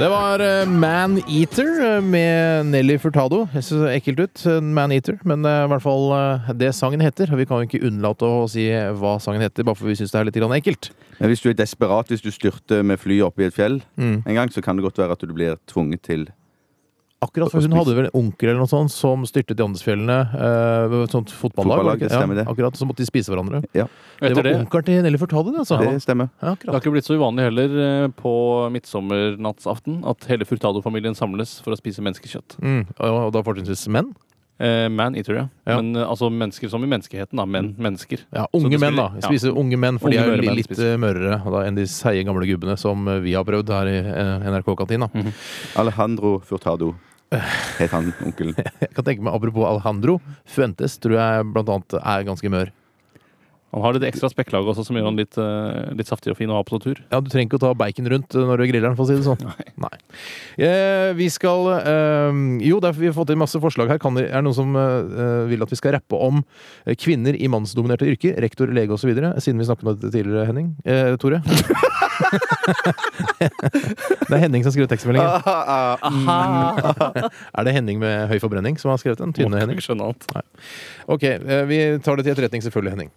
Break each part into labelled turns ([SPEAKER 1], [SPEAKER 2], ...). [SPEAKER 1] Det var eh, Man Eater eh, med Nelly Furtado. Jeg synes det ser ekkelt ut, eh, Man Eater, men eh, i hvert fall eh, det sangen heter. Vi kan jo ikke unnlate å si eh, hva sangen heter, bare for vi syns det er litt grann ekkelt.
[SPEAKER 2] Men hvis du er desperat, hvis du styrter med fly opp i et fjell en gang, så kan det godt være at du blir tvunget til
[SPEAKER 1] Akkurat for hun hadde vel en onkel eller noe sånt som styrtet i Andesfjellene. eh, ved et sånt fotballag. var
[SPEAKER 2] Fotballag, det
[SPEAKER 1] ikke?
[SPEAKER 2] stemmer det.
[SPEAKER 1] Ja, akkurat, Så måtte de spise hverandre.
[SPEAKER 2] Ja,
[SPEAKER 1] Det
[SPEAKER 3] Etter
[SPEAKER 1] var
[SPEAKER 3] det,
[SPEAKER 1] onkelen til Nelly Furtado, det, altså.
[SPEAKER 2] det stemmer.
[SPEAKER 1] Ja,
[SPEAKER 3] det har
[SPEAKER 1] akkurat.
[SPEAKER 3] ikke blitt så uvanlig heller eh, på midtsommernattsaften at hele Furtado-familien samles for å spise menneskekjøtt.
[SPEAKER 1] Mm, og og da fortrinnsvis menn.
[SPEAKER 3] Eh, man eater, ja.
[SPEAKER 1] Ja. Mm.
[SPEAKER 3] Men eh, altså mennesker som i menneskeheten, da. Men mennesker.
[SPEAKER 1] Ja,
[SPEAKER 3] Så
[SPEAKER 1] unge
[SPEAKER 3] det
[SPEAKER 1] menn, da.
[SPEAKER 3] skulle- ja.
[SPEAKER 1] Spise unge menn, for de
[SPEAKER 3] Unge
[SPEAKER 1] er jo
[SPEAKER 3] mørre
[SPEAKER 1] li-
[SPEAKER 3] menn
[SPEAKER 1] litt
[SPEAKER 3] spiser.
[SPEAKER 1] eh, mørere da, enn de seige gamle gubbene som eh, vi har prøvd her i eh, NRK-kantina.
[SPEAKER 2] Alejandro Furtado het han onkelen.
[SPEAKER 1] Jeg kan tenke meg, Apropos Alejandro, Fuentes tror jeg blant annet er ganske mør.
[SPEAKER 3] Han har litt ekstra spekklag også, som gjør han litt, eh, litt saftig og fin å ha på tur.
[SPEAKER 1] Ja, Du trenger ikke å ta bacon rundt eh, når du griller den, for å si det sånn. Nei. Eh, vi skal eh, Jo, det er, vi har fått inn masse forslag her. Kan, det- er det noen som eh, vil at vi skal rappe om eh, kvinner i mannsdominerte yrker? Rektor, lege osv.? Siden vi snakket om dette tidligere, Henning. Eh, Tore? det er Henning som skriver tekstmeldingen. Er det Henning med høy forbrenning som har skrevet den? Tynne
[SPEAKER 3] Må
[SPEAKER 1] Henning?
[SPEAKER 3] ikke skjønne alt.
[SPEAKER 1] Ok, eh, vi tar det til etterretning selvfølgelig, Henning.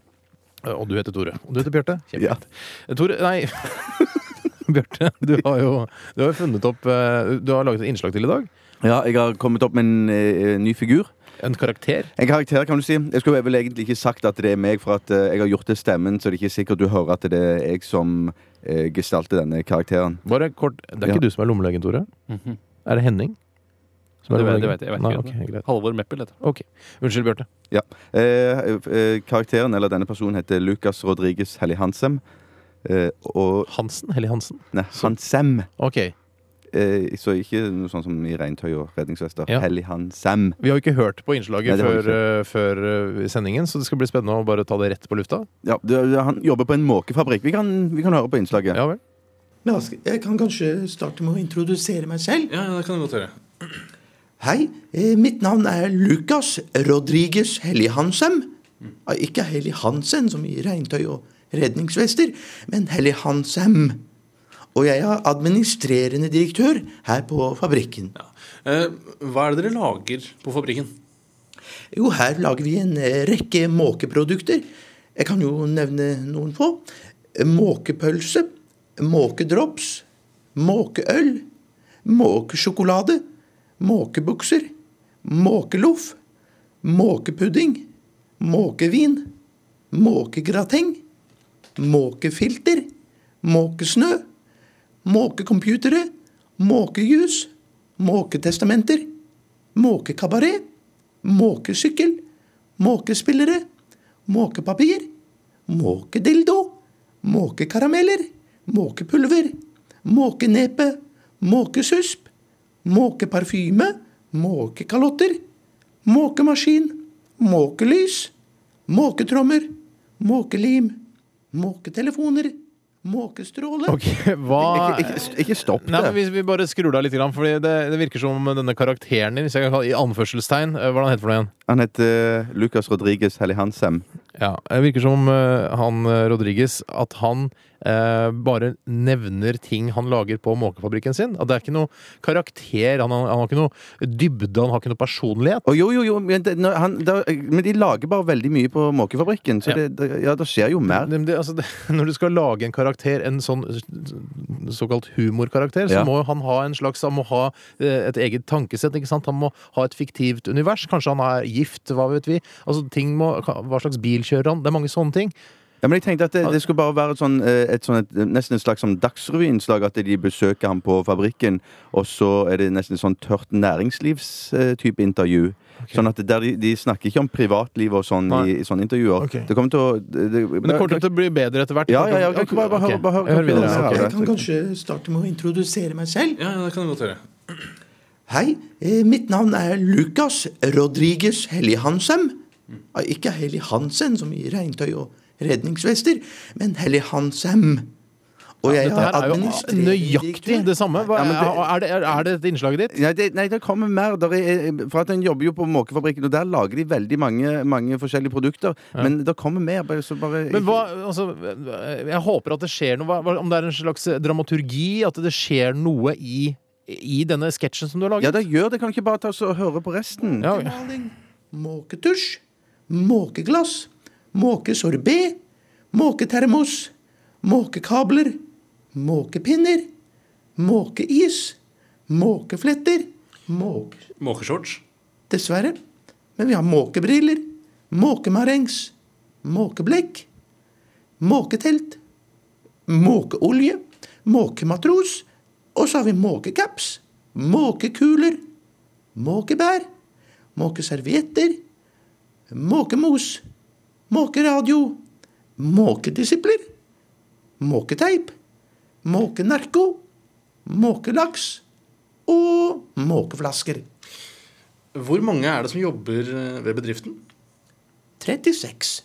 [SPEAKER 1] Eh, Og du heter Tore. Og du heter Bjarte.
[SPEAKER 2] Ja.
[SPEAKER 1] Kjempefint. Eh, Tore, nei Bjarte, du har jo du har jo funnet opp eh, Du har laget et innslag til i dag.
[SPEAKER 2] Ja, jeg har kommet opp med en eh, ny figur.
[SPEAKER 1] En karakter.
[SPEAKER 2] En karakter, kan du si. Jeg skulle vel egentlig ikke sagt at det er meg, for at eh, jeg har gjort det stemmen, så det er ikke sikkert du hører at det er jeg som eh, gestalter denne karakteren.
[SPEAKER 1] Bare kort Det er
[SPEAKER 2] Ja.
[SPEAKER 1] ikke du som er lommelegen, Tore? Er det Henning? som Mhm. er
[SPEAKER 3] Det vet- det
[SPEAKER 1] lommelegen?
[SPEAKER 3] vet jeg- jeg vet
[SPEAKER 1] Nei,
[SPEAKER 3] ikke.
[SPEAKER 1] ok, greit.
[SPEAKER 3] Halvor Meppel heter han.
[SPEAKER 1] Ok. Unnskyld, Bjarte.
[SPEAKER 2] Ja. Eh, eh, karakteren, eller denne personen, heter Lucas Rodriguez Helly Hansem. Eh, og
[SPEAKER 1] Hansen? Hellig Hansen?
[SPEAKER 2] Nei, Hansem.
[SPEAKER 1] Ok.
[SPEAKER 2] Eh, så ikke noe sånn som i regntøy og redningsvester.
[SPEAKER 1] Ja.
[SPEAKER 2] Helly Hansem.
[SPEAKER 1] Vi har jo ikke hørt på innslaget
[SPEAKER 2] Nei, det har vi
[SPEAKER 1] før, eh, før eh, sendingen, så det skal bli spennende å bare ta det rett på lufta.
[SPEAKER 2] Ja, det, det, han jobber på en måkefabrikk. Vi kan, vi kan høre på innslaget.
[SPEAKER 1] Ja vel?
[SPEAKER 4] Men jeg skal- jeg kan kanskje starte med å introdusere meg selv.
[SPEAKER 5] Ja, ja, det kan du godt gjøre.
[SPEAKER 4] Hei, eh, mitt navn er Lukas Rodriges Helly Hansem. Ja, Ikke Helly Hansen, som i regntøy og redningsvester, men Helly Hansem. Og jeg er administrerende direktør her på fabrikken.
[SPEAKER 5] Ja. Eh, hva er det dere lager på fabrikken?
[SPEAKER 4] Jo, her lager vi en eh, rekke måkeprodukter. Jeg kan jo nevne noen få. Måkepølse, måkedrops, måkeøl, måkesjokolade, måkebukser, måkeloff, måkepudding, måkevin, måkegrateng, måkefilter, måkesnø, måkecomputere, måkejus, måketestamenter, måkekabaret, måkesykkel, måkespillere, måkepapir, måkedildo, måkekarameller, måkepulver, måkenepe, måkesusp, måkeparfyme, måkekalotter, måkemaskin, måkelys, måketrommer, måkelim, måketelefoner, måkestråle
[SPEAKER 1] Ok, hva
[SPEAKER 2] Ikke, ikke, ikke stopp
[SPEAKER 1] Nei, men
[SPEAKER 2] det.
[SPEAKER 1] hvis vi bare skrur det av litt, grann, fordi det, det virker som om denne karakteren din, hvis jeg kan kalle i anførselstegn, eh, hva er det han heter for noe igjen?
[SPEAKER 2] Han heter eh, Lucas Rodriguez Helly Hansem.
[SPEAKER 1] Ja, det virker som om eh, han eh, Rodriguez at han eh, bare nevner ting han lager på måkefabrikken sin. At det er ikke noe karakter, han, han, han har ikke noe dybde, han har ikke noe personlighet.
[SPEAKER 2] Å, jo, jo, jo, men, det, når han, da, men de lager bare veldig mye på måkefabrikken, så
[SPEAKER 1] Ja.
[SPEAKER 2] det, det, ja, det skjer jo mer.
[SPEAKER 1] Det, det, altså, det, når du skal lage en karakter, en sånn eh, såkalt humorkarakter, så
[SPEAKER 2] Ja.
[SPEAKER 1] må han ha en slags Han må ha eh, et eget tankesett. Ikke sant? Han må ha et fiktivt univers. Kanskje han er gift, hva vet vi. Altså, ting må, hva slags bil kjører han? Det er mange sånne ting.
[SPEAKER 2] Ja, men jeg tenkte at det, det skulle bare være et sånn, eh, et sånn et, nesten et slags sånn dagsrevyinnslag. At de besøker ham på fabrikken, og så er det nesten et sånn tørt næringslivstype intervju. Sånn at der de, de snakker ikke om privatliv og sånn
[SPEAKER 1] Nei.
[SPEAKER 2] i, i sånne intervjuer.
[SPEAKER 1] Ok.
[SPEAKER 2] Det kommer til å det, det,
[SPEAKER 1] Men det kommer til å bli bedre etter hvert.
[SPEAKER 2] Ja, ja, ja, ok, bare- bare hør-
[SPEAKER 1] Ok,
[SPEAKER 2] bare hør-
[SPEAKER 1] jeg hører videre.
[SPEAKER 2] Ja,
[SPEAKER 1] ok.
[SPEAKER 4] Jeg kan kanskje starte med å introdusere meg selv.
[SPEAKER 5] Ja, ja, det kan du godt gjøre.
[SPEAKER 4] Hei, eh, mitt navn er Lukas Rodriges Helly Hansem. Ja, Ikke Helly Hansen, som i regntøy og redningsvester, men Helly Hansem. Og jeg
[SPEAKER 1] Dette her er jo
[SPEAKER 4] administrerende
[SPEAKER 1] nøyaktig
[SPEAKER 4] direktør.
[SPEAKER 1] det samme. Hva,
[SPEAKER 2] Ja, men det-
[SPEAKER 1] er, det, er, er det dette innslaget ditt?
[SPEAKER 2] Nei det, nei, det kommer mer. Der er, eh, for at Den jobber jo på måkefabrikken, og der lager de veldig mange, mange forskjellige produkter. Men det kommer mer. Bare, så bare,
[SPEAKER 1] Men hva, altså, jeg håper at det skjer noe. Hva- Hva, om det er en slags dramaturgi? At det skjer noe i i denne sketsjen som du har
[SPEAKER 2] Ja,
[SPEAKER 1] laget?
[SPEAKER 2] da gjør det. Kan du ikke bare ta oss og høre på resten?
[SPEAKER 1] Ja,
[SPEAKER 4] Maling, måketusj, måkeglass, måkesorbet, måketermos, måkekabler, måkepinner, måkeis, måkefletter, måke...
[SPEAKER 5] Måkeshorts.
[SPEAKER 4] Dessverre. Men vi har måkebriller, måkemarengs, måkeblekk, måketelt, måkeolje, måkematros, og så har vi måkecaps, måkekuler, måkebær, måkeservietter, måkemos, måkeradio, måkedisipler, måketeip, måkenarko, måkelaks og måkeflasker.
[SPEAKER 5] Hvor mange er det som jobber eh, ved bedriften?
[SPEAKER 4] 36.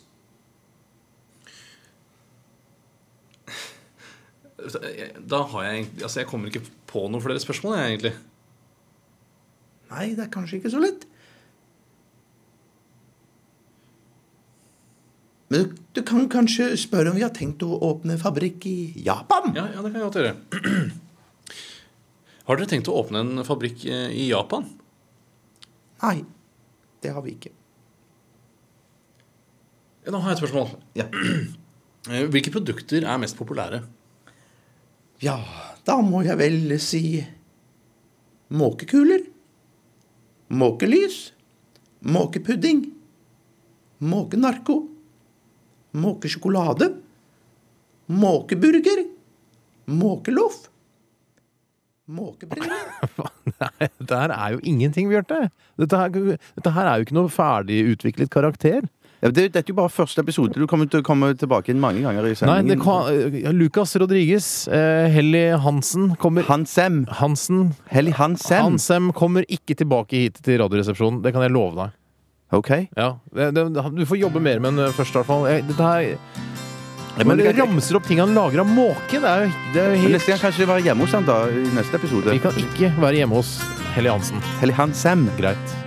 [SPEAKER 5] eh, Da har jeg egentlig Altså, jeg kommer ikke på noen flere spørsmål, jeg, egentlig.
[SPEAKER 4] Nei, det er kanskje ikke så lett. Men du, du kan kanskje spørre om vi har tenkt å åpne fabrikk i Japan?
[SPEAKER 5] Ja, ja, det kan jeg godt gjøre. Har dere tenkt å åpne en fabrikk eh, i Japan?
[SPEAKER 4] Nei, det har vi ikke.
[SPEAKER 5] Ja, Nå har jeg et spørsmål.
[SPEAKER 4] Ja.
[SPEAKER 5] Eh, Hvilke produkter er mest populære?
[SPEAKER 4] ja, da må jeg vel si måkekuler, måkelys, måkepudding, måkenarko, måkesjokolade, måkeburger, måkeloff, måkebriller.
[SPEAKER 1] Nei, det her er jo ingenting, Bjarte. Dette, her- dette her er jo ikke noe ferdig utviklet karakter.
[SPEAKER 2] Ja, det, dette er jo bare første episode. Du kommer til å komme tilbake inn mange ganger i
[SPEAKER 1] Nei,
[SPEAKER 2] sendingen.
[SPEAKER 1] det kan, ja, Lucas Rodriguez, eh, Helly Hansen kommer
[SPEAKER 2] Hansem.
[SPEAKER 1] Hansen
[SPEAKER 2] Helly Hansem.
[SPEAKER 1] Hansem kommer ikke tilbake hit til Radioresepsjonen. Det kan jeg love deg.
[SPEAKER 2] OK.
[SPEAKER 1] Ja, det, det, du får jobbe mer med den først, i hvert fall. Jeg- Dette her
[SPEAKER 2] Men
[SPEAKER 1] Men
[SPEAKER 2] det kan-
[SPEAKER 1] ramser opp ting han lager av måke. Det er jo, det er jo
[SPEAKER 2] Men
[SPEAKER 1] helt
[SPEAKER 2] neste gang kanskje det var hjemme hos han da, i neste
[SPEAKER 1] Vi
[SPEAKER 2] episode.
[SPEAKER 1] kan ikke være hjemme hos Helly Hansen.
[SPEAKER 2] Helly Hansem.
[SPEAKER 1] Greit.